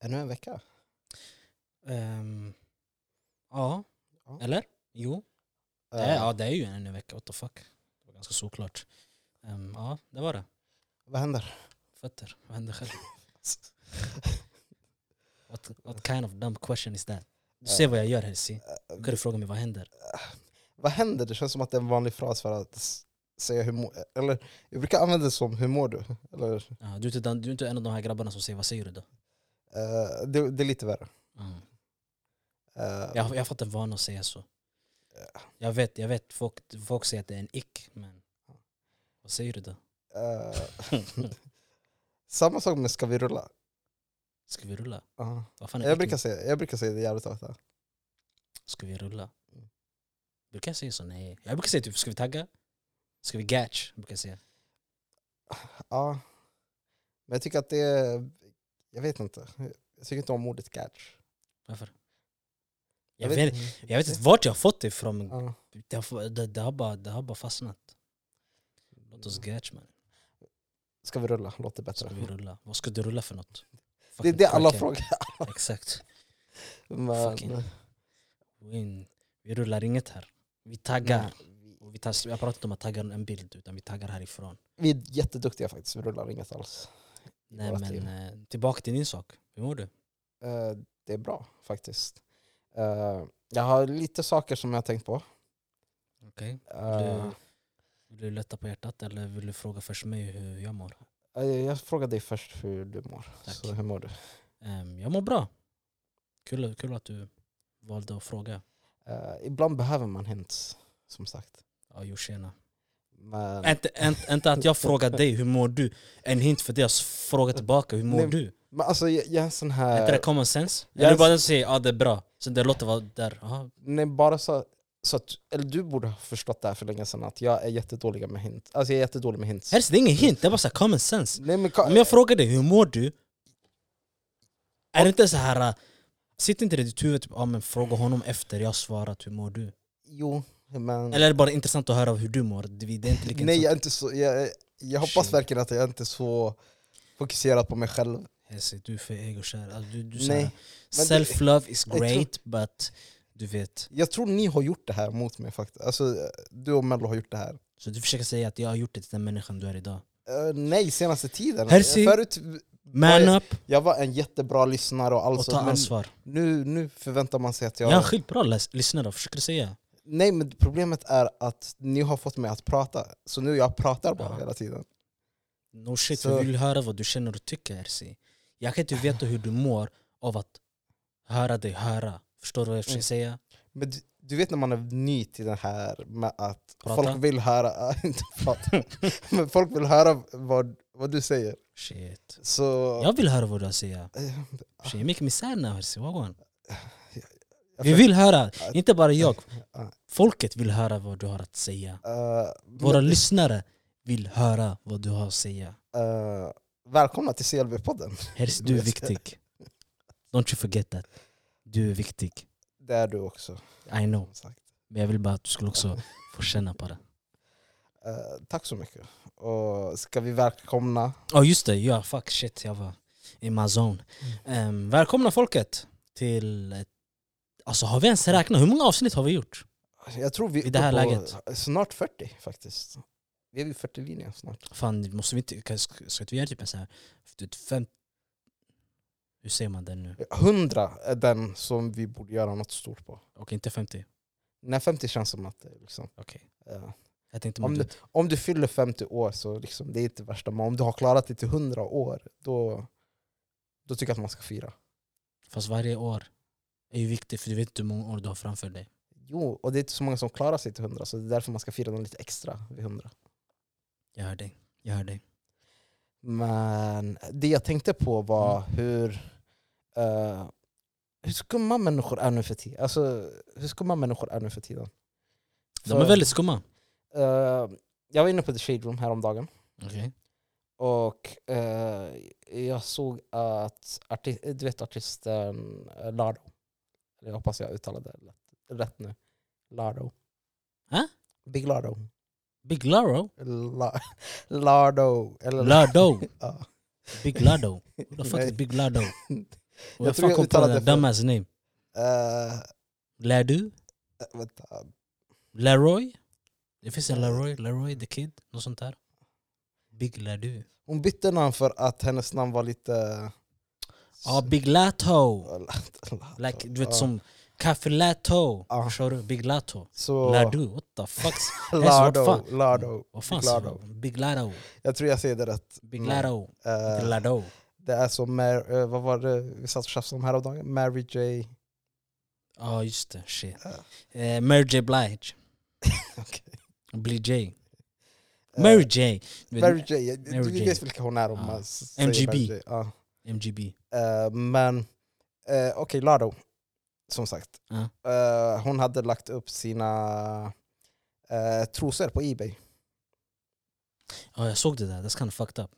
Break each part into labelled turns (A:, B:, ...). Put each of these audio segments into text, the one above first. A: Ännu en vecka?
B: Ehm, ja.
A: Ja.
B: eller? Jo, det
A: Eh,
B: är, ja, det är ju en ny vecka. What the fuck. Det var ganska såklart. Ehm, ja, det var det.
A: Vad händer?
B: Fötter, vad händer själv? what, what kind of dumb question is that? Du ser
A: Eh.
B: vad jag gör Helsi. Då kan du fråga mig vad händer.
A: Vad händer? Det känns som att det är en vanlig fras för att s- säga hur mår Eller jag brukar använda det som hur mår du? Eller,
B: Ja, du, är inte den, du är inte en av de här grabbarna som säger vad säger du då?
A: eh, det, det är lite värre.
B: Mm.
A: Eh,
B: Jag, jag har fått en vana att säga så. Jag vet, jag vet folk, folk säger att det är en ick, men vad säger du då?
A: eh, samma sak med ska vi rulla?
B: Ska vi rulla?
A: Ja.
B: Vad fan är
A: jag,
B: ick?
A: brukar säga, jag brukar säga det jävligt ofta.
B: Ska vi rulla? Brukar jag säga så? Nej. Jag brukar säga typ, ska vi tagga? Ska vi gatch? Brukar jag säga.
A: Ja. Men jag tycker att det är... Jag vet inte. Jag tycker inte om ordet catch.
B: Varför? Jag, vet, jag vet inte vart jag har fått det ifrån, men
A: Ja.
B: det, har- det, det, har bara, det har bara fastnat. Låt oss gatch man.
A: Ska vi rulla? Låter
B: Ska
A: bättre.
B: vi rulla? Vad ska du rulla för något?
A: Det är
B: Fucking
A: det alla
B: crackhead.
A: frågar.
B: Exakt. Fucking-
A: Men, eh,
B: Win. Vi rullar inget här. Vi
A: Mm.
B: taggar. Och vi tar, jag pratar inte om att tagga en bild, utan vi taggar härifrån.
A: vi är jätteduktiga faktiskt, vi rullar inget alls. i
B: Nej,
A: våra
B: men
A: team.
B: eh, tillbaka till din sak. Hur mår du?
A: Eh, det är bra faktiskt. Eh, jag har lite saker som jag har tänkt på.
B: Okej.
A: Eh,
B: Du- Vill du lätta på hjärtat eller vill du fråga först mig hur jag mår?
A: eh, jag frågade dig först hur du mår.
B: Tack.
A: Så hur mår du?
B: Ehm, jag mår bra. Kul, kul att du valde att fråga.
A: Eh, ibland behöver man hints, som sagt.
B: Ja, jo tjena.
A: Men,
B: Inte, inte, inte att jag frågar dig hur mår du, en hint för dig att fråga tillbaka hur mår
A: Nej,
B: du?
A: men alltså jag, jag är en sån
B: Är inte det
A: här...
B: common sense?
A: jag
B: Eller
A: är-
B: bara den som säger ja det är bra, sen det låter vara där. Aha.
A: Nej, bara så, så att, eller du borde ha förstått det här för länge sedan, att jag är jättedålig med hints. Alltså jag är jättedålig med hints.
B: Helst, det är ingen hint, det är bara så här common sense.
A: Nej, men, ka-
B: Om jag frågar dig hur mår du, är det inte så här äh, Sitter inte det i ditt huvud typ, ja, men fråga honom efter jag har svarat hur mår du?
A: Jo, men...
B: Eller är det bara intressant att höra hur du mår? Det det är inte lika
A: Nej,
B: intressant.
A: jag, är inte så, jag, jag hoppas
B: Shit.
A: verkligen att jag inte är så fokuserad på mig själv.
B: Hesse, du är för egokär. Alltså, du, du,
A: Nej,
B: såhär,
A: det-
B: Self-love is
A: jag tror-
B: great, but du vet.
A: Jag tror ni har gjort det här mot mig faktiskt. Alltså, du och Mello har gjort det här.
B: Så du försöker säga att jag har gjort det till den människan du är idag.
A: Eh, nej, senaste tiden.
B: Herzi.
A: Förut,
B: Man
A: Vad
B: up
A: jag var en jättebra lyssnare och allt
B: och
A: så,
B: ta
A: Alltså, men
B: ansvar.
A: nu, nu förväntar man sig att jag...
B: Jag är en skitbra läs- lyssnare, försöker du säga?
A: Nej, men problemet är att ni har fått mig att prata. Så nu jag pratar bara
B: Ja.
A: hela tiden.
B: No shit,
A: Så-
B: vi vill höra vad du känner och tycker Herzi. Jag kan inte veta hur du mår av att höra dig höra. Förstår du vad jag försöker
A: Mm.
B: säga?
A: Men du, du vet när man är ny till det här med att
B: Prata.
A: folk vill höra... inte prata. men folk vill höra vad, vad du säger.
B: Shit.
A: Så...
B: Jag vill höra vad du har att säga.
A: Eh,
B: Shit, jag är mycket misärna Herzi, wagwan.
A: jag
B: Vi vill höra, inte bara jag.
A: Ja.
B: Folket vill höra vad du har att säga.
A: Eh,
B: Våra
A: men,
B: lyssnare vill höra vad du har att säga.
A: eh, välkomna till CLB-podden.
B: Helst du är viktig. Don't you forget that. Du är viktig.
A: Det är du också.
B: I know.
A: som sagt.
B: Men jag vill bara att du skulle också få känna på det.
A: Eh, tack så mycket. Och ska vi välkomna...
B: Ja just det, ja fuck shit jag var i my zone.
A: Mm.
B: Ehm, välkomna folket till... ett- Alltså har vi ens räknat? Hur många avsnitt har vi gjort?
A: Jag tror vi är
B: I det här
A: uppe På
B: läget.
A: snart 40 faktiskt. Vi är vid 40 linjen snart.
B: Fan, måste vi inte... kan- Ska ska inte vi göra typ en sån här... typ Fem, hur säger man det nu?
A: 100 är den som vi borde göra något stort på.
B: Okej, inte 50.
A: När 50 känns som att det är liksom...
B: Okej.
A: eh,
B: Jag tänkte typ-
A: Om
B: man...
A: du- om du fyller 50 år så liksom, det är inte värsta, men om du har klarat det till 100 år då, då tycker jag att man ska fira.
B: Fast varje år är ju viktigt för du vet inte hur många år du har framför dig.
A: Jo, och det är inte så många som klarar sig till 100 så det är därför man ska fira dem lite extra vid 100.
B: Jag hör dig. Jag hör dig.
A: Men det jag tänkte på var
B: Mm.
A: hur, eh, hur skumma människor är nu för tiden. Alltså, hur skumma människor är nu för tiden.
B: De
A: För,
B: är väldigt skumma.
A: eh, jag var inne på The Shade Room häromdagen
B: Okej.
A: och eh, jag såg att arti- du vet artisten eh, Lardo, jag hoppas jag uttalade det rätt- rätt nu, Lardo.
B: Hä?
A: Big Lardo.
B: Big Laro?
A: La- Lardo. Eller
B: Lardo.
A: Ja.
B: Big Lardo. Who the fuck
A: Nej.
B: is Big Lardo? Vem
A: tror
B: fan
A: jag
B: kom på den där
A: uttalade för-
B: dumbass name?
A: Eh,
B: Ladu?
A: vänta.
B: Leroy? Det finns en Leroy, Leroy the Kid, något sånt där. Big Ladu.
A: Hon bytte namn för att hennes namn var lite...
B: Ja, Big Lato. Like, du
A: Alltså, Ja.
B: vet som Café Lato.
A: Ja.
B: Förstår du? Big Lato.
A: Så,
B: Ladu, what the fuck? Alltså, vad
A: Lardo, Lardo.
B: Vad fan
A: Big
B: sa
A: Lardo.
B: du? Big Lato.
A: Jag tror jag säger det rätt.
B: Big
A: Mm.
B: Lato.
A: Eh,
B: Big Lato.
A: det är som, Mar- eh, vad var det vi satt och tjafsade om häromdagen? Mary J...
B: Ja, just det. Shit.
A: Ja.
B: Eh, Mary J Blige.
A: Okej.
B: Bli J.
A: Eh,
B: Mary J. Du vet,
A: Mary J. Du
B: Mary J.
A: vet vilka hon är om
B: Ja.
A: man s- säger
B: MGB.
A: Mary J. Ja.
B: MGB.
A: Eh, men, eh, okej, Lardo. Som sagt.
B: Ja.
A: Eh, hon hade lagt upp sina eh, trosor på Ebay.
B: Ja, jag såg det där. That's kind of fucked up.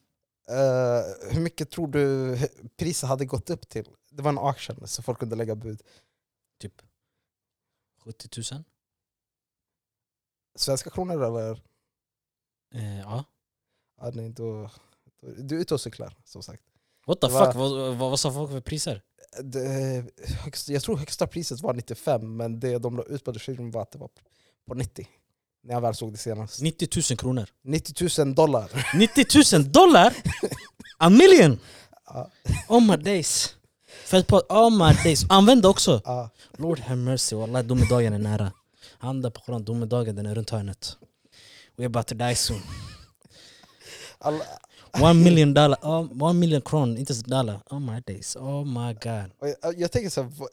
A: Eh, hur mycket tror du priset hade gått upp till? Det var en auction, så folk kunde lägga bud.
B: Typ 70 000?
A: Svenska kronor eller?
B: Eh, ja.
A: Ja, nej, då, då, du är ute och cyklar, som sagt.
B: What the
A: Det var-
B: fuck? Vad, vad, vad sa folk för priser?
A: Det, högst, jag tror högsta priset var 95, men det de la ut på The Showroom var att det var på 90. När jag väl såg det senast.
B: 90 000 kronor.
A: 90 000 dollar!
B: 90 000 dollar? A million?
A: Ja.
B: Oh my days. För ett par, oh my days. Använd det också.
A: Ja,
B: Lord have mercy, wallah domedagen är nära. Handen på koran, domedagen den är runt hörnet. We're about to die soon.
A: alla,
B: One million dollar, oh, one million kron, inte ens dollar. Oh my days, oh my god.
A: och jag, jag tänker så här, vad-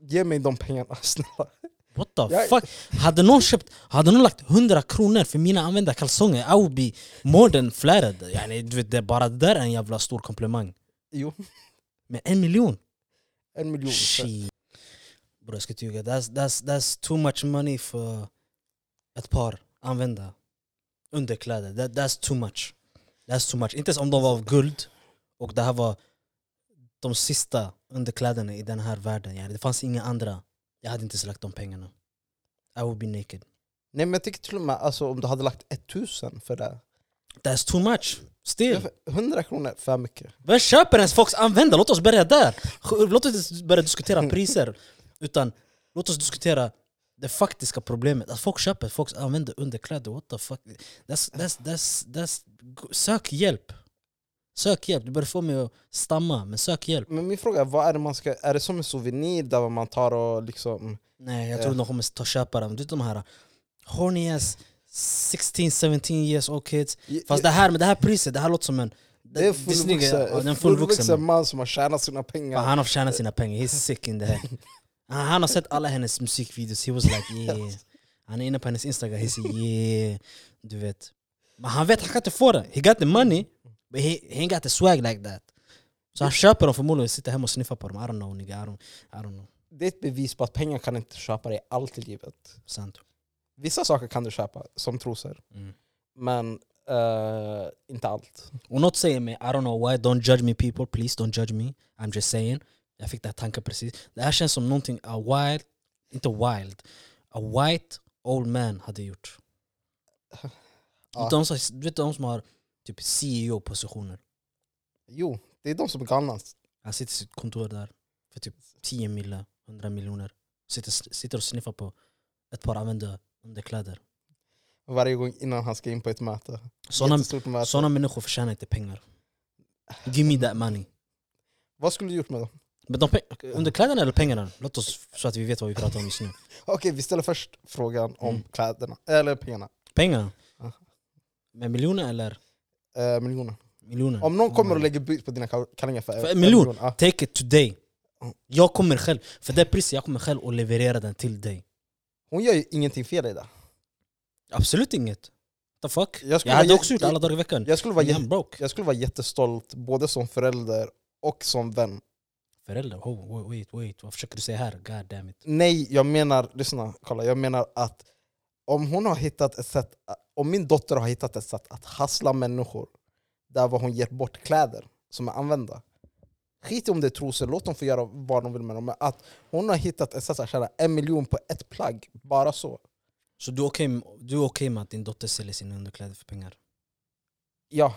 A: ge mig de pengarna snälla.
B: What the
A: Jag-
B: fuck? Hade någon köpt, hade någon lagt 100 kronor för mina använda kalsonger, I would be more than flattered. Yani, du vet, det är bara det där är en jävla stor komplimang.
A: Jo,
B: Men en miljon?
A: en miljon.
B: Shit. Bror jag ska inte ljuga, that's, that's, that's too much money för ett par använda underkläder. That, that's too much. That's too much. Inte ens om de var av guld och det här var de sista underkläderna i den här världen. Yani, det fanns inga andra. Jag hade inte ens lagt de pengarna. I would be naked.
A: Nej men jag tycker till och med alltså, om du hade lagt 1000 för det.
B: That's too much. Still.
A: 100 kronor, för mycket.
B: Vem köper ens folks användare? Låt oss börja där. Låt oss inte börja diskutera priser. Utan låt oss diskutera det faktiska problemet. Att folk köper folks användare underkläder. What the fuck? That's, that's, that's, that's... Sök hjälp. Sök hjälp. Du börjar få mig att stamma, men sök hjälp.
A: Men min fråga är, vad är det man ska, är det som en souvenir där man tar och liksom...
B: Nej, jag tror
A: Ja.
B: de kommer ta köpa dem. Du vet de här horny ass 16-17 years old kids. Fast det här med det här priset, det här låter som en...
A: det är
B: snygga- ja,
A: fullvuxen,
B: den
A: en
B: fullvuxen
A: fullvuxen man som har tjänat sina pengar.
B: Fan, han har tjänat sina pengar, he's sick in Ah, the head. Han, han har sett alla hennes musikvideos, he was like yeah. Ah, Han är inne på hennes instagram, he säger yeah. Du vet. Men han vet, han kan inte få det. He got the money, but he, he ain't got the swag like that. Så han köper dem förmodligen och sitter hemma och sniffar på dem. I don't know nigga, I don't, I don't know.
A: Det är ett bevis på att pengar kan inte köpa dig allt i livet.
B: Sant.
A: Vissa saker kan du köpa, som trosor,
B: Mm.
A: men eh, inte allt.
B: Och något säger mig, I don't know why, don't judge me people, please don't judge me. I'm just saying. Jag fick den här tanken precis. Det här känns som någonting a wild, inte wild, a white old man hade gjort.
A: Ja.
B: De som, du vet de som har typ CEO-positioner.
A: Jo, det är de som är galnast.
B: Han sitter i sitt kontor där för typ 10 mille, 100 miljoner. Sitter, sitter och sniffar på ett par använda underkläder.
A: Varje gång innan han ska in på ett möte.
B: Sådana,
A: Jättestort möte.
B: sådana människor förtjänar inte pengar. Give me that money.
A: Vad skulle du gjort med dem?
B: Men de pe- okej, underkläderna eller pengarna? Låt oss så att vi vet vad vi pratar om just nu.
A: Okej, vi ställer först frågan om
B: Mm.
A: kläderna, eller pengarna.
B: Pengarna?
A: Ja.
B: Med miljoner eller
A: Eh, miljoner.
B: miljoner?
A: Om någon kommer och lägger bud på dina ka- kallingar Mm. för,
B: För en miljon?
A: ja.
B: Take it today.
A: Mm.
B: Jag kommer själv, för det priset, jag kommer själv och leverera den till dig.
A: Hon gör ju ingenting fel i det.
B: Absolut inget. The fuck?
A: Jag
B: Jag,
A: skulle
B: hade
A: ge-
B: också gjort alla dagar i veckan.
A: Jag skulle vara,
B: Men
A: jä-
B: I'm broke.
A: jag skulle vara jättestolt både som förälder och som vän.
B: Föräldrar, oh, wait, wait, wait, vad försöker du säga här? God damn it.
A: Nej, jag menar, lyssna, kolla, jag menar att om hon har hittat ett sätt, om min dotter har hittat ett sätt att hassla människor där vad hon ger bort kläder som är använda. Skit i om det är trosor, låt dem få göra vad de vill med dem. Men att hon har hittat ett sätt att tjäna en miljon på ett plagg, bara så.
B: Så du är okej du är okej med att din dotter säljer sina underkläder för pengar?
A: Ja.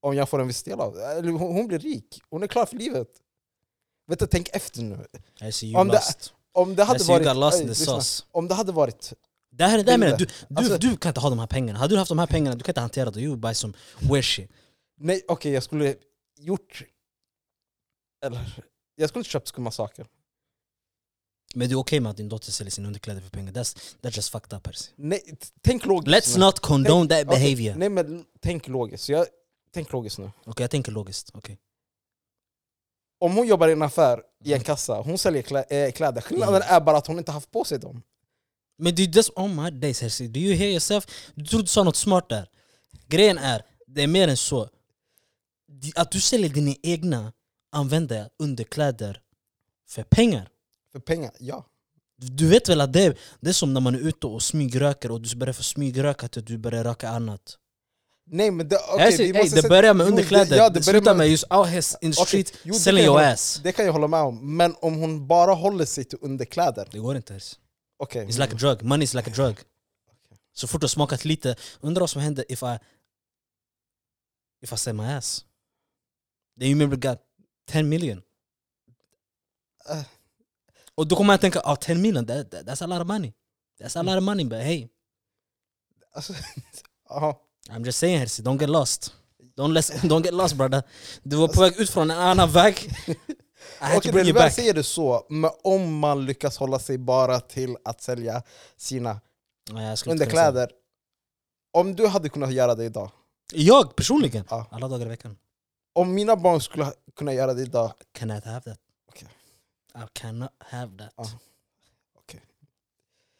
A: Om jag får en viss del av det. Eller hon, hon blir rik, hon är klar för livet. Vet du, tänk efter nu.
B: I see you
A: Om det-
B: lost.
A: Om det
B: I
A: hade
B: see you
A: varit...
B: got lost
A: Ey,
B: in the
A: lyssna.
B: sauce.
A: Om det hade varit...
B: Det här är det jag menar, du, du,
A: Alltså-
B: du kan inte ha de här pengarna. Hade du haft de här pengarna, du kan inte hantera det. Du är bara som weshi.
A: Nej okej, jag skulle gjort... Eller... Jag skulle inte köpt skumma saker.
B: Men du är okej med att din dotter säljer sina underkläder för pengar. That's, that's just fucked up. Percy. Alltså-
A: Nej, t- tänk logiskt
B: Let's
A: nu.
B: not condone that
A: Okej,
B: behavior. Okej,
A: Nej men tänk logiskt. Så jag, tänk logiskt nu.
B: jag tänker logiskt. Okej.
A: Om hon jobbar i en affär, i en kassa, hon säljer klä, eh, kläder. Skillnaden
B: Mm.
A: är bara att hon inte haft på sig dem.
B: Men du, just oh my days Percy. Do you hear yourself? Du trodde du sa något smart där. Grejen är, det är mer än så. Du- Att du säljer dina egna använda underkläder för pengar.
A: För pengar, ja.
B: Du vet väl att det är, det är som när man är ute och smygröker och du börjar få smygröka till att du börjar röka annat.
A: Nej men det, okej,
B: Okay,
A: vi
B: hey,
A: måste
B: det
A: sätta-
B: börjar med
A: Jo, det-
B: underkläder,
A: ja,
B: det,
A: börjar
B: slutar med just out here in the
A: Okej,
B: street
A: jo, det
B: selling
A: kan jag
B: your
A: hålla-
B: ass.
A: Det kan jag hålla med om, men om hon bara håller sig till underkläder,
B: Det går inte ens.
A: okej.
B: It's like a drug, money is like a drug. Så fort du har smakat lite, undrar vad som händer if I... If I say my ass. Then you remember got 10 million.
A: Äh.
B: Och då kommer jag att tänka, oh, 10 million, that, that, that's a lot of money. That's a lot of money, but hey.
A: Alltså, jaha.
B: I'm just saying Hersi, don't get lost. Don't, let's, don't get lost brother. Du var på väg ut från en annan väg. I had
A: Alltså-
B: to
A: Okej, när du
B: bring you
A: väl
B: typ back.
A: säger det så, men om man lyckas hålla sig bara till att sälja sina
B: Nej, jag skulle inte kunna säga.
A: underkläder, om du hade kunnat göra det idag,
B: Jag personligen?
A: Ja.
B: Alla dagar i veckan.
A: om mina barn skulle ha- kunna göra det idag,
B: Cannot have that.
A: Okej.
B: I cannot have that.
A: Ja. Okej.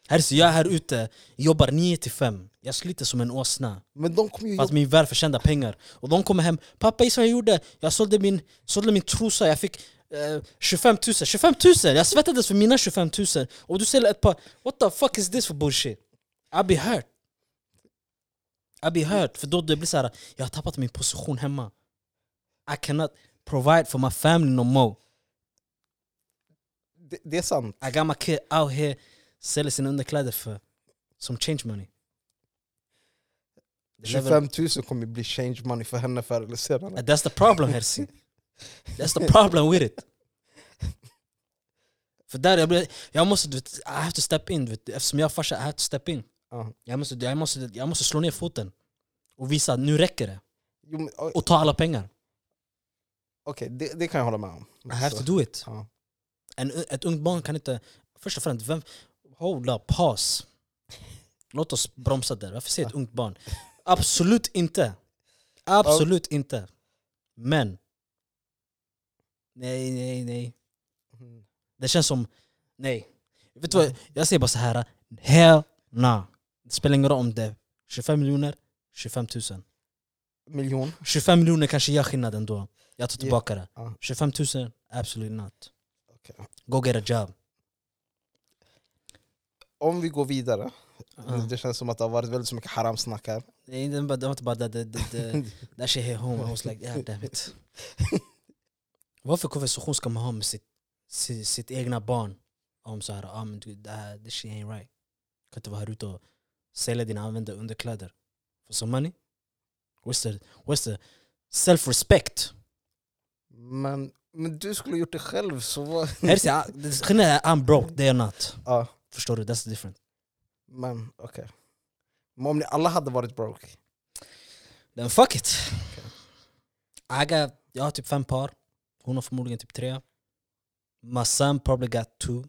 B: Hersi, jag är här ute, jobbar 9 till 5. Jag sliter som en åsna.
A: men de kommer ju...
B: För att min värld förtjänar pengar. Och de kommer hem, pappa gissa vad jag gjorde? Jag sålde min, sålde min trosa, jag fick eh, 25 000. 25 000! Jag svettades för mina 25 000. Och du säljer ett par, what the fuck is this for bullshit? I'll be hurt. I'll be hurt. För då det blir så här, jag har tappat min position hemma. I cannot provide for my family no more.
A: Det, det är sant.
B: I got my kid out here säljer sina underkläder för som change money. Det lever-
A: 25 000 kommer bli change money för henne förr eller senare.
B: That's the problem Hersi. That's the problem with it. För där jag, blir, jag måste, du vet, I have to step in. du Vet, eftersom jag är farsa, I have to step in.
A: Ja.
B: Jag måste, jag, måste, jag måste slå ner foten och visa att nu räcker det.
A: Jo, men, o-
B: Och ta alla pengar.
A: Okej, det, det kan jag hålla med om.
B: I have
A: Så,
B: to do it.
A: ja.
B: En, ett ungt barn kan inte... Först och främst, vem, hold up, paus. Låt oss bromsa där. Varför säger ett ungt barn? Absolut inte. Absolut inte. Men. Nej, nej, nej.
A: Mm.
B: Det känns som, nej. Vet du vad, jag säger bara så här. hell nah. Det spelar ingen roll om det är 25 miljoner, 25 000.
A: Miljon.
B: 25 miljoner kanske gör skillnad ändå. Jag tar
A: Ja.
B: tillbaka det.
A: Ja.
B: 25 000, absolutely not.
A: Okej.
B: Go get a job.
A: Om vi går vidare,
B: Ja.
A: det känns som att det har varit väldigt så mycket haram-snack här.
B: Det är inte bara- det var inte bara det, det, det, det. That shit hit home, I was like yeah damn it. Varför konversation ska man ha med sitt, sitt, sitt egna barn? Om så här, ah, men du, det här, this shit ain't right. Kan inte vara här ute och sälja dina använda underkläder. For some money? Where's the, where's the self-respect?
A: Men, men du skulle ha gjort det själv, så vad...
B: Här ser jag- det- Skillnaden är I'm broke, they are not.
A: Ja,
B: Förstår du? That's different.
A: men okej. Men om ni alla hade varit broke,
B: Then fuck it. I got, jag har typ fem par. Hon har förmodligen typ tre. My son probably got two.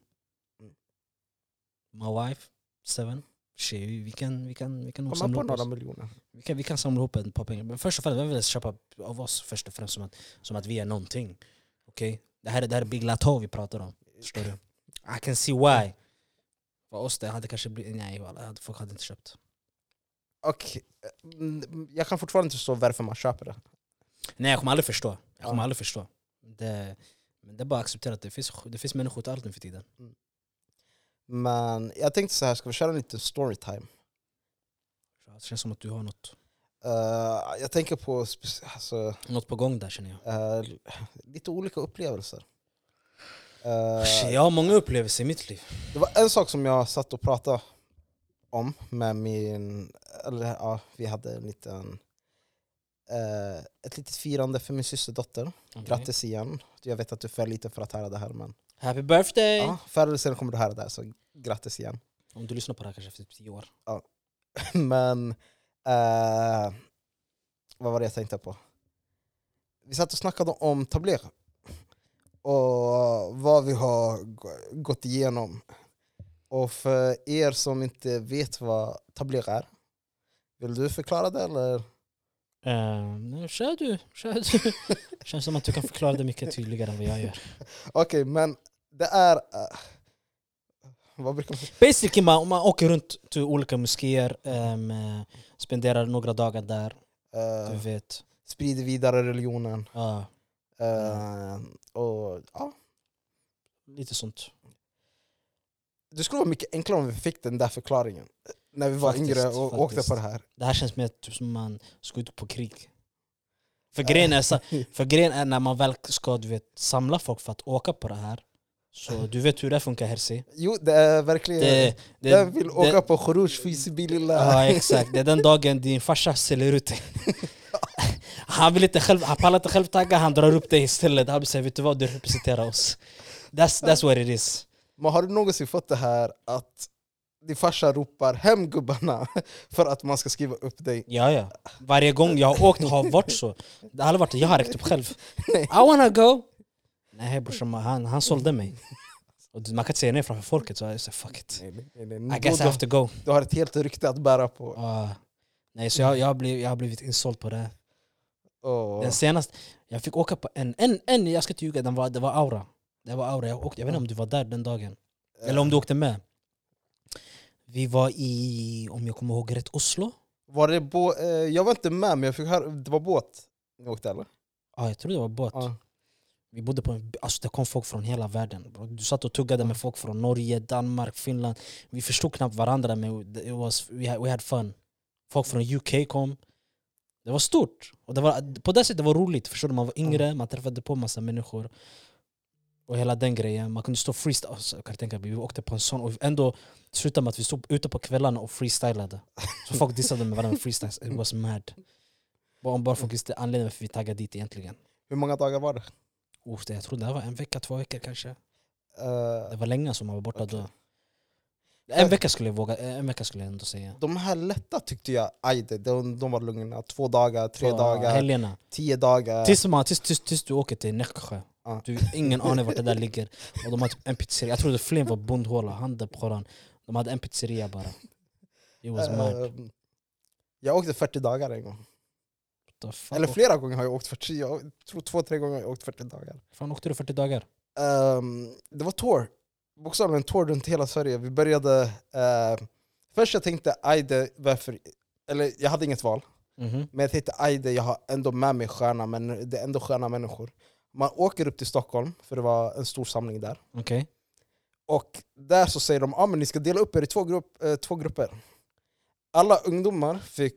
B: My wife, seven. Shit, vi vi kan, vi kan, vi kan nog
A: kom man
B: samla
A: på
B: ihop
A: några
B: oss.
A: miljoner?
B: Vi kan, vi kan samla ihop ett par pengar. Men först och främst, vem vill ens köpa av oss först och främst som att, som att vi är någonting? Okej? Det här är det här är Big Lato vi pratar om. Förstår du? I can see why. För oss det hade kanske blivit... Nej, walla, folk hade inte köpt.
A: Okej, mm, jag kan fortfarande inte förstå varför man köper det.
B: Nej jag kommer aldrig förstå. Jag kommer
A: Ja.
B: aldrig förstå. Det, men det är bara att acceptera att det finns, det finns människor till allt nu för tiden.
A: Men jag tänkte så här, ska vi köra en liten storytime?
B: Det känns som att du har något,
A: Eh, jag tänker på spec- alltså,
B: något på gång där känner jag.
A: eh, lite olika upplevelser. Eh,
B: Shit, jag har många upplevelser i mitt liv.
A: Det var en sak som jag satt och pratade om med min... Eller ja, vi hade en liten eh, ett litet firande för min systerdotter.
B: Okej.
A: Grattis igen. Jag vet att du föll lite för att höra det här men
B: Happy birthday!
A: ja, förr eller senare kommer du höra det här så grattis igen.
B: Om du lyssnar på det här kanske efter typ tio år.
A: Men eh, vad var det jag tänkte på? Vi satt och snackade om tabler och vad vi har g- gått igenom. Och för er som inte vet vad tabler är, vill du förklara det eller?
B: Eh, nej, kör du, kör du. Känns som att du kan förklara det mycket tydligare än vad jag gör.
A: Okej, men det är... eh, vad brukar man säga?
B: Basically man, man åker runt till olika moskéer, ehm, eh, spenderar några dagar där, du
A: Eh,
B: vet.
A: sprider vidare religionen.
B: Ja,
A: Eh, och, ja.
B: lite sånt.
A: Det skulle vara mycket enklare om vi fick den där förklaringen. eh, När vi var
B: Faktiskt,
A: yngre och åkte
B: faktiskt.
A: på det här.
B: Det här känns mer typ som man ska ut på krig. För grejen är, så, för grejen är när man väl ska du vet, samla folk för att åka på det här, så du vet hur det funkar Herzi.
A: Jo, det är verkligen...
B: Det, det,
A: den vill
B: det-
A: åka på Khuruj Fisibilillah.
B: Ja exakt, det är den dagen din farsa säljer ut dig. Han vill inte själv, han pallar inte själv tagga, han drar upp dig istället. Han säger vet du vad, du representerar oss. That's, that's what it is.
A: Men har du någonsin fått det här att din farsa ropar hem gubbarna för att man ska skriva upp dig?
B: Ja, ja. Varje gång jag har åkt har varit så. Det har aldrig varit jag har räckt upp själv.
A: Nej.
B: I wanna go! Nej brorsan, han, han sålde mig. Och du- man kan inte säga nej framför folket, så jag sa fuck it.
A: Nej, nej,
B: I
A: nej.
B: guess
A: Du,
B: I have to go.
A: du har ett helt rykte att bära på.
B: Ah. nej, så jag, jag, har blivit, jag har blivit insåld på det här.
A: Och-
B: Den senaste, jag fick åka på en, en, en jag ska inte ljuga, den var, det var aura. Det var aura, jag, åkte, jag vet inte om du var där den dagen.
A: Eh,
B: Eller om du åkte med. Vi var i, om jag kommer ihåg rätt, Oslo?
A: Var det bå- eh, jag var inte med, men jag fick höra, det var båt ni åkte eller?
B: Ja, jag tror det var båt.
A: Ja.
B: Vi bodde på en, alltså det kom folk från hela världen. bro. Du satt och tuggade med folk från Norge, Danmark, Finland. Vi förstod knappt varandra men it was, we, had, we had fun. Folk från UK kom. Det var stort. Och det var, på det sättet var det roligt. Förstår du? Man var yngre, man träffade på massa människor. Och hela den grejen. Man kunde stå och freestyle. Alltså, jag kan tänka mig, vi åkte på en sån och ändå slutade med att vi stod ute på kvällarna och freestylade. Så folk dissade med varandra med freestyles. It was mad. Bara, bara folk visste anledningen varför vi taggade dit egentligen.
A: Hur många dagar var det?
B: Oh, det- jag tror det här var en vecka, två veckor kanske.
A: Eh,
B: Det var länge som man var borta
A: Okej.
B: då. En vecka skulle jag våga, en vecka skulle jag ändå säga.
A: de här lätta tyckte jag, aj, det- de, de var lugna. Två dagar, tre
B: Två
A: dagar,
B: Helgerna.
A: tio dagar.
B: Tills, man, tills, tills, tills du åker till Nässjö.
A: Ja.
B: Du har ingen aning vart det där ligger. Och de har typ en pizzeria. Jag trodde Flen var bondhåla, handen på koran. De hade en pizzeria bara. It was
A: Eh,
B: mad.
A: jag åkte 40 dagar en gång.
B: The fuck?
A: Eller
B: Åk-
A: flera gånger har jag åkt 40, jag tror två, tre gånger har jag åkt 40 dagar.
B: Fan åkte du 40 dagar?
A: Ehm, det var tour, bokstavligen tour runt hela Sverige. Vi började, eh, först jag tänkte aj det, varför, eller jag hade inget val.
B: Mhm.
A: Men jag tänkte aj det, jag har ändå med mig sköna, men det är ändå sköna människor. Man åker upp till Stockholm, för det var en stor samling där.
B: Okej.
A: Och där så säger de att ah, men ni ska dela upp er i två, grupp, eh, två grupper. Alla ungdomar fick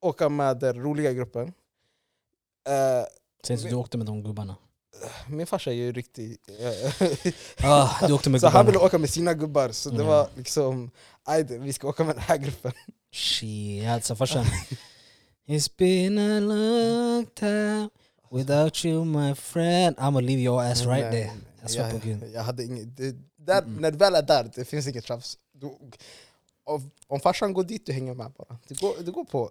A: åka med den roliga gruppen. Eh,
B: Sen så du åkte med de gubbarna.
A: min farsa är ju riktig... eh,
B: Ah, du åkte med
A: så han ville
B: gubbarna.
A: åka med sina gubbar, så det
B: Mm.
A: var liksom... Aj, det- vi ska åka med den här gruppen.
B: Shit, alltså farsan. It's been a long time without you my friend. I'ma leave your ass right there. Jag svär på
A: jag,
B: gud.
A: jag hade inget... Det, där,
B: Mm.
A: När du väl är där, det finns inget tjafs. Du, om, om farsan går dit, du hänger med bara. Du går, du går på...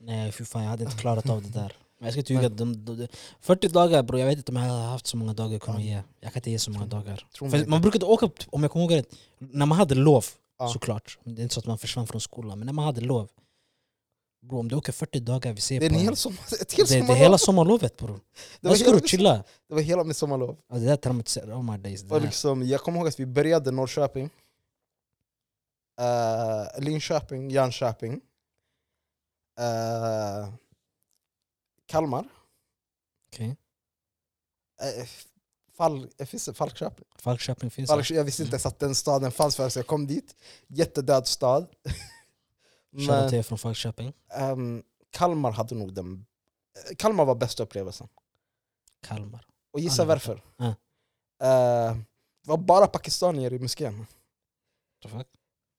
B: Nej fy fan, jag hade inte klarat av det där. Men jag ska inte ljuga, de, de, de, 40 dagar bror, jag vet inte om jag hade haft så många dagar jag kunde ge. Jag kan inte ge så många dagar.
A: Tror mig
B: För man brukade åka, upp, om jag kommer ihåg rätt, när man hade lov
A: Ja.
B: såklart. Det är inte så att man försvann från skolan, men när man hade lov. Bror om du åker 40 dagar, vi ser
A: det är
B: på
A: en hel sommar, ett helt
B: det, det är
A: sommarlov!
B: hela sommarlovet bror.
A: Det
B: Där
A: var
B: ska
A: hela
B: du
A: min-
B: chilla.
A: Det var hela mitt sommarlov.
B: Alltså, det där traumatiserar, oh my days. Det
A: Och
B: där.
A: liksom, jag kommer ihåg att vi började Norrköping, eh, Linköping, Jönköping, eh, Kalmar,
B: Okej.
A: eh, Fall, eh, finns det Falköping?
B: Falköping finns
A: Falk, jag visste inte ens att den staden fanns förrän jag kom dit. Jättedöd stad.
B: Shoutout till
A: Men,
B: er från Falköping.
A: ehm, Kalmar hade nog den... eh, Kalmar var bästa upplevelsen.
B: Kalmar.
A: Och gissa
B: Alla
A: varför?
B: Ja.
A: Eh, det var bara pakistanier i moskén.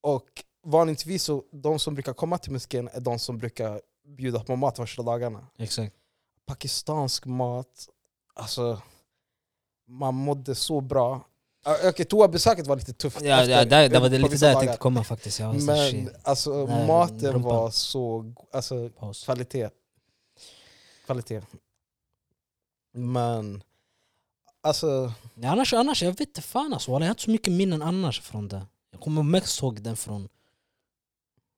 A: Och vanligtvis så de som brukar komma till moskén är de som brukar bjuda på mat första dagarna.
B: Exakt.
A: Pakistansk mat, alltså man mådde så bra. Ö- Okej, toabesöket var lite tufft.
B: Ja, ja,
A: efter-
B: där, där var det
A: på
B: lite
A: vissa
B: där jag
A: dagar.
B: tänkte komma faktiskt. Jag var så här,
A: Men
B: shit,
A: alltså
B: Nej,
A: maten
B: rumpan.
A: var så... go- Alltså
B: paus.
A: kvalitet. Kvalitet. Men... Alltså,
B: Ja, annars, annars, jag vet inte fan alltså. Walla, Jag har inte så mycket minnen annars från det. Jag kommer mest ihåg den från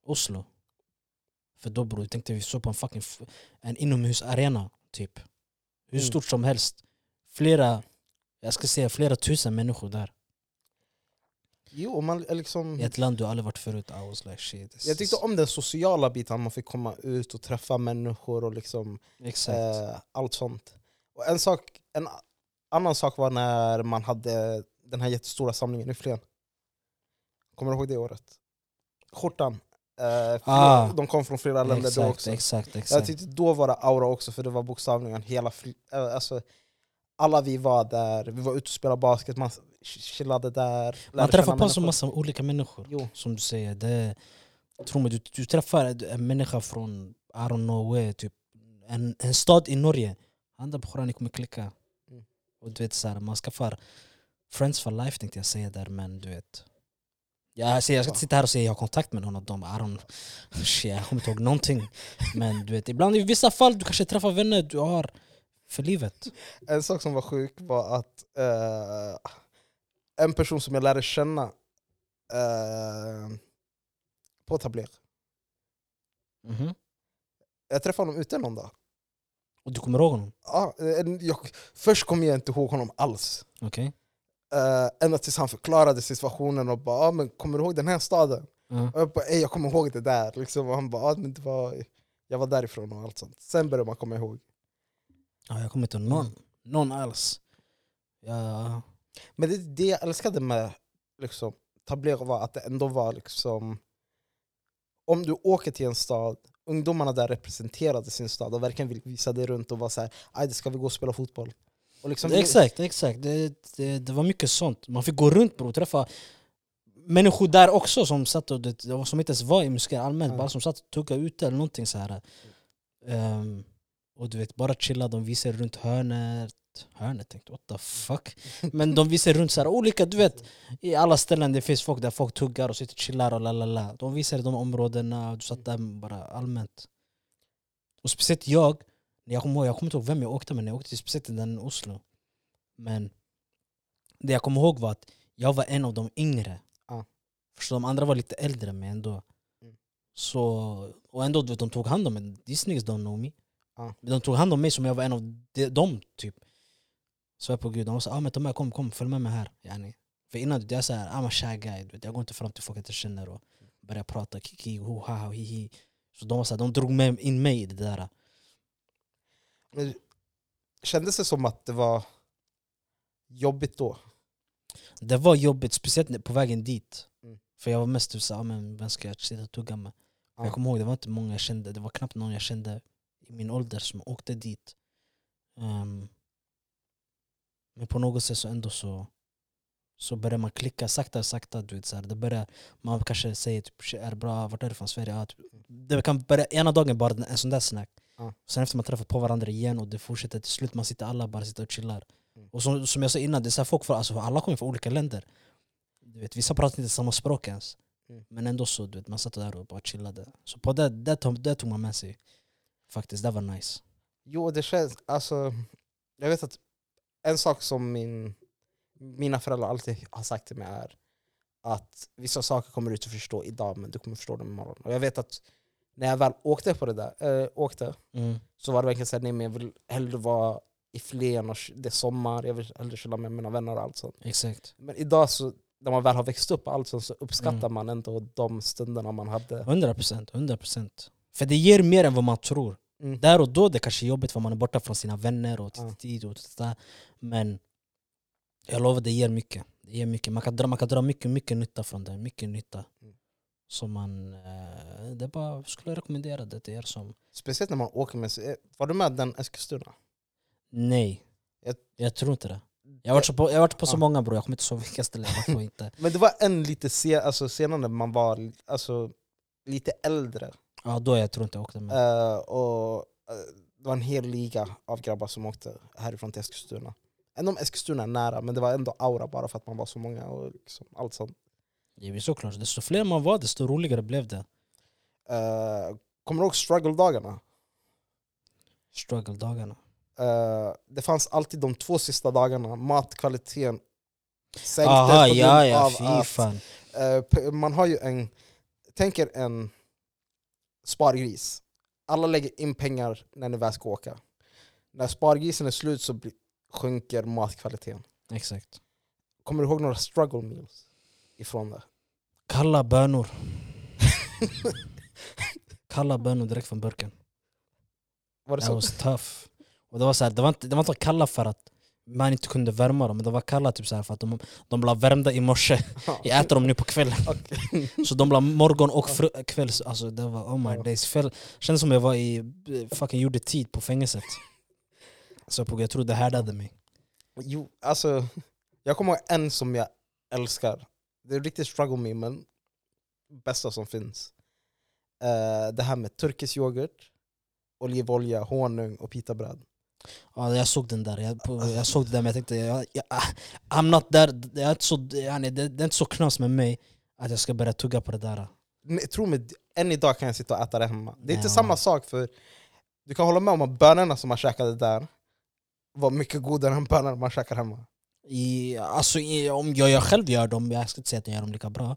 B: Oslo. För då bror, jag tänkte vi såg på en fucking f- en inomhusarena typ. Hur
A: Mm.
B: stort som helst. Flera, jag ska säga flera tusen människor där.
A: jo, man liksom...
B: I ett land du aldrig varit förut. I was like shit. this
A: Jag tyckte
B: is-
A: om den sociala biten, man fick komma ut och träffa människor och liksom
B: Exakt.
A: eh, allt sånt. Och en, sak, en a- annan sak var när man hade den här jättestora samlingen i Flen. Kommer du ihåg det året? Skjortan. Eh,
B: Ah.
A: De kom från flera länder då
B: exakt,
A: också.
B: exakt,
A: Jag
B: exakt.
A: tyckte då var det aura också, för det var bokstavligen hela... Fl- eh, alltså, alla vi var där, vi var ute och spelade basket, man ch- chillade där.
B: Man
A: lärde
B: träffar
A: känna
B: på så
A: människor.
B: massa olika människor.
A: Jo.
B: Som du säger, det, tro mig, du, du träffar en människa från I don't know where, typ en, en stad i Norge. Han där på ni kommer klicka.
A: Mm.
B: Och du vet så här, man skaffar friends for life tänkte jag säga där, men du vet. Ja, alltså, jag ska inte sitta här och säga jag har kontakt med någon av dem, I don't, shit, jag kommer inte ihåg någonting. Men du vet, ibland i vissa fall du kanske träffar vänner du har för livet.
A: En sak som var sjuk var att eh, en person som jag lärde känna eh, på Tabler, Mm. jag träffade honom ute någon dag.
B: Och du kommer ihåg honom?
A: Ja, en- jag, först kom jag inte ihåg honom alls.
B: Okej?
A: Uh, ända tills han förklarade situationen och bara ah, men kommer du ihåg den här staden?
B: Ja.
A: Och jag bara, "Ey, jag kommer ihåg det där. Liksom. Och han bara, ah, men det var, jag var därifrån och allt sånt. Sen började man komma ihåg.
B: Ja, jag kommer inte ihåg någon. Någon alls. Ja,
A: Men det, det jag älskade med liksom, Tablero var att det ändå var liksom... Om du åker till en stad, ungdomarna där representerade sin stad och verkligen ville visa dig runt och var så här, "Aj, det ska vi gå och spela fotboll? Och liksom,
B: exakt, exakt. Det, det, det var mycket sånt. Man fick gå runt bro, och träffa människor där också som satt och, det, som inte ens var i muskeln allmänt,
A: Ja.
B: bara som satt och tuggade ute eller någonting så här. Ehm, och du vet, bara chilla, de visar runt hörnet. Hörnet tänkte what the fuck? Men de visar runt så här olika, du vet, i alla ställen det finns folk där folk tuggar och sitter och chillar och la la la. De visar de områdena och du satt där bara allmänt. Och speciellt jag, när jag kommer ihåg- jag kommer inte ihåg vem jag åkte med när jag åkte till speciellt till den i Oslo. Men det jag kommer ihåg var att jag var en av de yngre.
A: Ja.
B: För de andra var lite äldre men ändå.
A: Mm.
B: Så, och ändå du vet, de tog hand om mig. These niggas don't know me.
A: Ja.
B: Men De tog hand om mig som jag var en av de, dem typ. Svär på gud, de sa ah, men ta med, kom, kom följ med mig här. Yani. För innan du vet, jag är såhär, I'm a shy guy. Du vet, jag går inte fram till folk jag inte känner och börjar prata kiki, ho, ha, ha, hi, hi. Så de, var så här, de drog med, in mig i det där.
A: Men Kändes det som att det var jobbigt då?
B: Det var jobbigt, speciellt när- på vägen dit.
A: Mm.
B: För jag var mest typ såhär, ah, men vem ska jag sitta och tugga med?
A: Ja.
B: Jag kommer ihåg, det var inte många jag kände, det var knappt någon jag kände i min ålder som åkte dit. Ehm, men på något sätt så ändå så, så börjar man klicka sakta sakta. Du vet, så här, det börjar, man kanske säger typ, "Shit, är det bra, vart är du från Sverige? Ja, typ, det kan börja ena dagen bara en sån där snack.
A: Mm. Ja.
B: Sen efter man träffar på varandra igen och det fortsätter till slut, man sitter alla bara sitter och chillar.
A: Mm.
B: Och som, som jag sa innan, det är så här folk från, alltså, alla kommer från olika länder. Du vet, vissa pratar inte samma språk ens.
A: Mm.
B: Men ändå så, du vet, man satt där och bara chillade. Så på det, det, tog, det tog man med sig. Faktiskt, det var nice.
A: Jo, det känns... Alltså, jag vet att en sak som min, mina föräldrar alltid har sagt till mig är att vissa saker kommer du inte förstå idag, men du kommer förstå dem imorgon. Och jag vet att när jag väl åkte på det där, eh, åkte, så var det verkligen såhär, nej men jag vill hellre vara i Flen, och det är sommar, jag vill hellre chilla med mina vänner och allt sånt.
B: Exakt.
A: Men idag, så, när man väl har växt upp och allt sånt, så uppskattar man ändå de stunderna man hade.
B: 100 procent, 100 procent. För det ger mer än vad man tror.
A: Mm.
B: Där och då det kanske är jobbigt för man är borta från sina vänner och
A: Ja.
B: till tid och till där. Men jag lovar, det ger mycket. Det ger mycket. Man, kan dra, man kan dra mycket, mycket nytta från det. Mycket nytta.
A: Mm.
B: Så man, eh, det är bara, skulle jag rekommendera det till er som
A: Speciellt när man åker med... eh, Var du med den Eskilstuna?
B: Nej. Jag,
A: Jag-
B: tror inte det. Jag har varit, så på, jag har varit på så
A: Ja.
B: många bror, jag kommer inte ihåg vilka ställen jag har varit på. Inte.
A: Men det var en lite se, alltså, senare när man var alltså, lite äldre.
B: Ja, då jag tror inte jag åkte med.
A: Eh, och eh, det var en hel liga av grabbar som åkte härifrån till Eskilstuna. Ändå om Eskilstuna är nära, men det var ändå aura bara för att man var så många. och liksom allt sånt.
B: Ja, men såklart, desto fler man var desto roligare blev det.
A: Eh, kommer du ihåg struggle-dagarna?
B: Struggle-dagarna.
A: Eh, det fanns alltid de två sista dagarna, matkvaliteten sänktes
B: Aha,
A: på grund
B: ja ja,
A: av
B: fy
A: att
B: fan.
A: Eh, p- man har ju en, tänk er en spargris. Alla lägger in pengar när ni väl ska åka. När spargrisen är slut så bli, sjunker matkvaliteten.
B: Exakt.
A: Kommer du ihåg några struggle meals ifrån det?
B: Kalla bönor. Kalla bönor direkt från burken.
A: Var det
B: That
A: så?
B: was tough. Och det, var så här, det, var inte, det var inte kalla för att man inte kunde värma dem, men de var kalla typ så här för att de, de blev värmda i morse. Jag äter dem nu på kvällen.
A: Okej.
B: Så de blev morgon och fru- kväll. Alltså det var oh my
A: Ja.
B: days. Fäll, kändes som jag var i eh, fucking gjorde tid på fängelset. Så jag på- jag tror det härdade mig.
A: Jo, alltså, jag kommer ihåg en som jag älskar. Det är riktigt struggle med, men bästa som finns. Eh, det här med turkisk yoghurt, olivolja, honung och pitabröd.
B: Ja, jag såg den där, jag, på- jag såg det där men jag tänkte jag, jag, I'm not där, det är inte så, yani, det, det är inte så knas med mig att jag ska börja tugga på det där.
A: Nej, Tro mig, än idag kan jag sitta och äta det hemma. Det är inte
B: Ja.
A: samma sak, för du kan hålla med om att bönorna som man käkade där var mycket godare än bönorna man käkar hemma.
B: I, alltså, i, om jag, jag själv gör dem, jag ska inte säga att jag gör dem lika bra.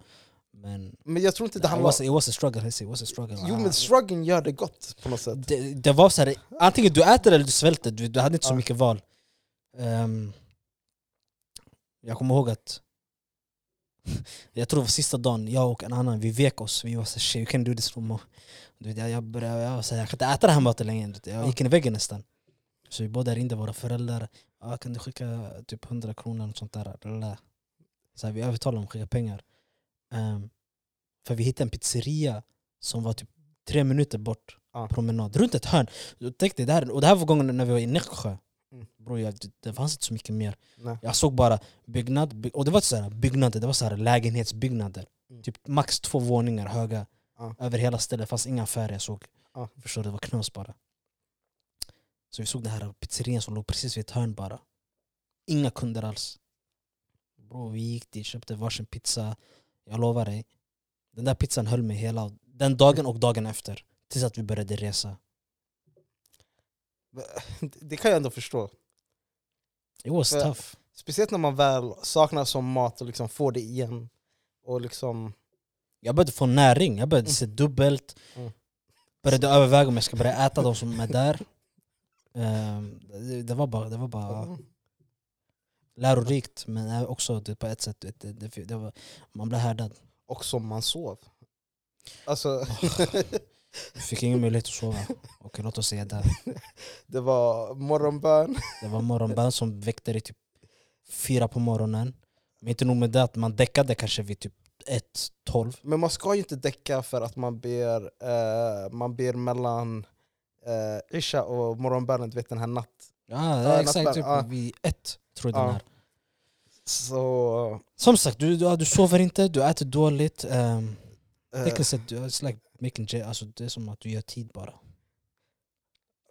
B: Men
A: Men jag tror inte det
B: it,
A: handlar
B: was, it was a struggle, Hesse, it was a struggle.
A: Jo
B: Ah.
A: men struggeln gör det gott på något sätt.
B: det, det var så här, antingen du äter eller du svälter, du, du hade inte så
A: Ja.
B: mycket val. Ehm, jag kommer ihåg att jag tror det var sista dagen, jag och en annan, vi vek oss. Vi var såhär shit, we can do this no more. Du vet, jag, jag, började, jag, var så här, jag kan inte äta det här maten längre. du vet. Jag
A: Ja.
B: gick in i väggen nästan. Så vi båda ringde våra föräldrar. Ah, kan du skicka typ 100 kronor eller sånt där? Lala. Så här, vi övertalade dem att skicka pengar. Ehm, för vi hittade en pizzeria som var typ tre minuter bort.
A: Ja.
B: Promenad, runt ett hörn. Du tänkte, det här, och det här var gången när vi var i Nässjö.
A: Mm.
B: Bro, jag, det- det fanns inte så mycket mer.
A: Nej.
B: Jag såg bara byggnad, by, och det var så här, byggnader, det var så här, lägenhetsbyggnader.
A: Mm.
B: Typ max två våningar höga.
A: Ja.
B: Över hela stället, det fanns inga affärer jag såg.
A: Ja.
B: Förstår du, det var knas bara. Så vi såg den här pizzerian som låg precis vid ett hörn bara. Inga kunder alls. Bro, vi gick dit, köpte varsin pizza. Jag lovar dig, den där pizzan höll mig hela den dagen och dagen efter. Tills att vi började resa.
A: Det kan jag ändå förstå.
B: It was
A: Ja.
B: tough.
A: Speciellt när man väl saknar som mat och liksom får det igen. Och liksom,
B: Jag började få näring, jag började se dubbelt.
A: Mm.
B: Började överväga om jag ska börja äta de som är där. Ehm, det, det var bara, det var
A: Mm.
B: bara lärorikt, men också det på ett sätt, det, det, det, det var, man blev härdad.
A: Och som man sov. Alltså,
B: Jag fick ingen möjlighet att sova. Okej, låt oss säga det.
A: det var morgonbön.
B: Det var morgonbön som väckte dig typ fyra på morgonen. Men inte nog med det, att man däckade kanske vid typ ett, tolv.
A: Men man ska ju inte däcka för att man ber, eh, man ber mellan eh, Isha och morgonbönen, du vet den här natt.
B: Ja,
A: Ja,
B: exakt.
A: nattbön,
B: Typ
A: ja.
B: vid ett, tror jag
A: Ja.
B: den här.
A: Så,
B: Som sagt, du, du, ja, du sover inte, du äter dåligt. ehm,
A: eh,
B: Tekniskt sett, du- it's like making jail. Alltså, det är som att du gör tid bara.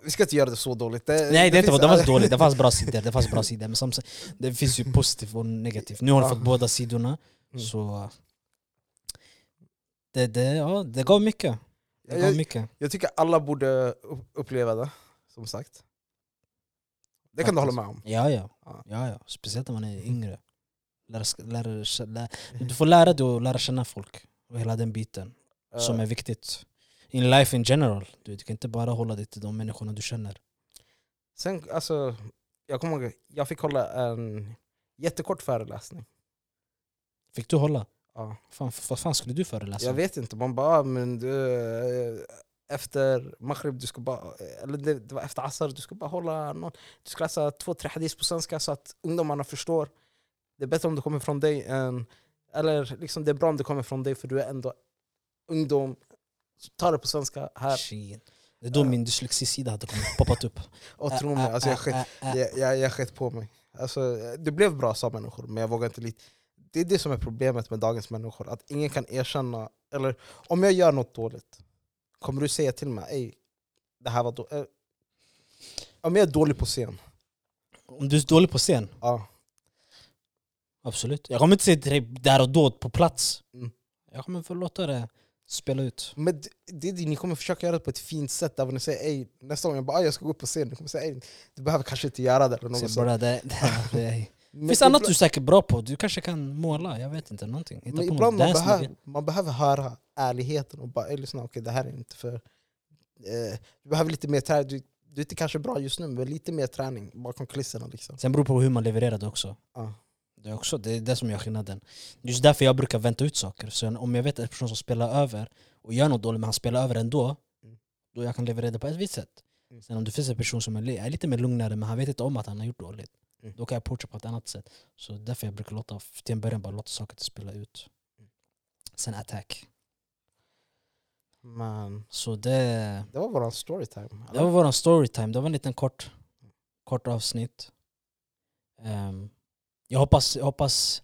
A: vi ska inte göra det så dåligt. Eh, Det,
B: Nej det, är inte,
A: finns-
B: det var dåligt, det fanns bra sidor. Det fanns bra sidor. Men som, sagt, det finns ju positivt och negativt. Nu har du
A: Ja.
B: fått båda sidorna.
A: Ah. Mm.
B: Så det, det, ja, det gav mycket. Det gav
A: jag,
B: mycket.
A: jag tycker alla borde upp- uppleva det, som sagt. Det kan du hålla
B: Faktiskt.
A: med om.
B: Ja ja.
A: Ja.
B: ja, ja. Speciellt när man är yngre. Lära, sk- lära, kä- lä,
A: Mm.
B: du får lära dig att lära känna folk och hela den biten
A: Eh,
B: som är viktigt. In life in general. Du, du kan inte bara hålla dig till de människorna du känner.
A: Sen, alltså, jag kommer ihåg, jag fick hålla en jättekort föreläsning.
B: Fick du hålla?
A: Ja.
B: Fan, vad fan skulle du föreläsa?
A: Jag vet inte, man bara, ah, men du, eh, efter Maghrib, du ska bara, eh, eller det, det var efter Asar, du ska bara hålla någon, du ska läsa två, tre hadis på svenska så att ungdomarna förstår. Det är bättre om det kommer från dig än, eller liksom det är bra om det kommer från dig för du är ändå ungdom. Så ta det på svenska här.
B: Shit. Det är då min dyslexisida hade kommit, poppat upp.
A: Och tro mig, alltså jag, skett, jag, jag, jag skett på mig. Alltså, det blev bra sa människor, men jag vågar inte lita. Det är det som är problemet med dagens människor, att ingen kan erkänna, eller om jag gör något dåligt, Kommer du säga till mig Ey, det här var då... eh, Om jag är dålig på scen,
B: Om du är dålig på scen,
A: ja.
B: absolut. Jag kommer inte säga till dig där och då på plats.
A: Mm.
B: Jag kommer få låta det spela ut.
A: Men det, det, är det, ni kommer försöka göra det på ett fint sätt, där ni säger ey, nästa gång jag bara, "Ah, jag ska gå upp på scen, ni kommer säga ey, du behöver kanske inte göra det. Eller något
B: Så
A: sånt.
B: bara det, det, det.
A: Men
B: Finns annat du är säkert bra på? Du kanske kan måla, jag vet inte, någonting. Hitta
A: Men
B: på
A: ibland
B: något.
A: man,
B: Dance,
A: behöver,
B: något.
A: man behöver höra ärligheten och bara "Ey, lyssna, okej det här är inte för... Eh, du behöver lite mer träning, du, du är inte kanske bra just nu men lite mer träning bakom kulisserna liksom.
B: Sen beror det på hur man levererar det också.
A: Ja.
B: Det är också det, är det som gör skillnaden. Just därför jag brukar vänta ut saker. Så om jag vet att en person som spelar över och gör något dåligt men han spelar över ändå,
A: Mm.
B: då jag kan leverera det på ett visst sätt.
A: Mm.
B: Sen om det finns en person som är, li- är lite mer lugnare men han vet inte om att han har gjort dåligt,
A: Mm.
B: då kan jag approacha på ett annat sätt. Så därför jag brukar låta, till en början bara låta saker spela ut.
A: Mm.
B: Sen attack.
A: Men
B: Så det...
A: det var våran storytime.
B: Det var vår storytime, det var en liten kort, kort avsnitt. Ehm, jag hoppas, jag hoppas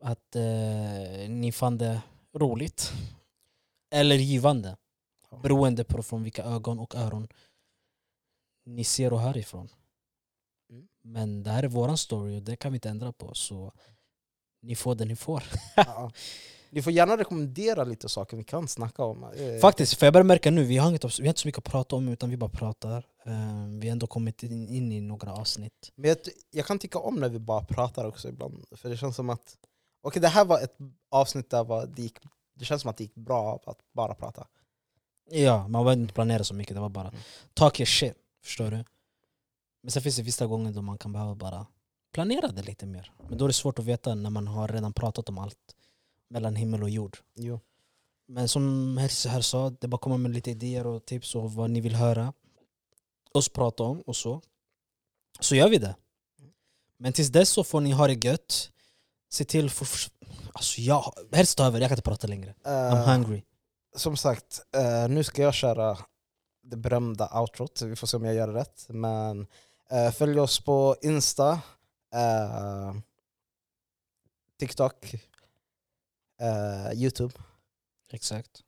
B: att eh, ni fann det roligt. Eller givande.
A: Ja.
B: Beroende på från vilka ögon och öron ni ser och hör ifrån.
A: Mm.
B: Men det här är våran story och det kan vi inte ändra på. Så ni får det ni får.
A: ja. Ni får gärna rekommendera lite saker vi kan snacka om. Eh,
B: Faktiskt, för jag börjar märka nu, vi har, inget, vi har inte så mycket att prata om utan vi bara pratar. Ehm, vi har ändå kommit in, in i några avsnitt.
A: Men jag, ty- jag kan tycka om när vi bara pratar också ibland, för det känns som att... Okej, det här var ett avsnitt där var, det, gick, det känns som att det gick bra av att bara prata.
B: Ja, man behöver inte planera så mycket, det var bara
A: Mm.
B: talk your shit, förstår du? Men sen finns det vissa gånger då man kan behöva bara planera det lite mer. Men då är det svårt att veta när man har redan pratat om allt mellan himmel och jord.
A: Jo.
B: Men som Herse här sa, det är bara att komma med lite idéer och tips och vad ni vill höra oss prata om och så. Så gör vi det. Men tills dess så får ni ha det gött. Se till för... Alltså jag... Helst ta över, jag kan inte prata längre. I'm
A: Eh,
B: hungry.
A: som sagt, eh, nu ska jag köra det berömda outrot, vi får se om jag gör det rätt. Men eh, följ oss på Insta, eh, TikTok, eh, Youtube
B: Exakt.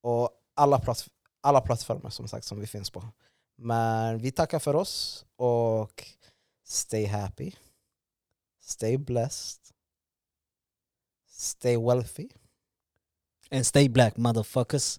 A: och alla, platt, alla plattformar som sagt som vi finns på. Men vi tackar för oss och stay happy, stay blessed, stay wealthy.
B: And stay black motherfuckers.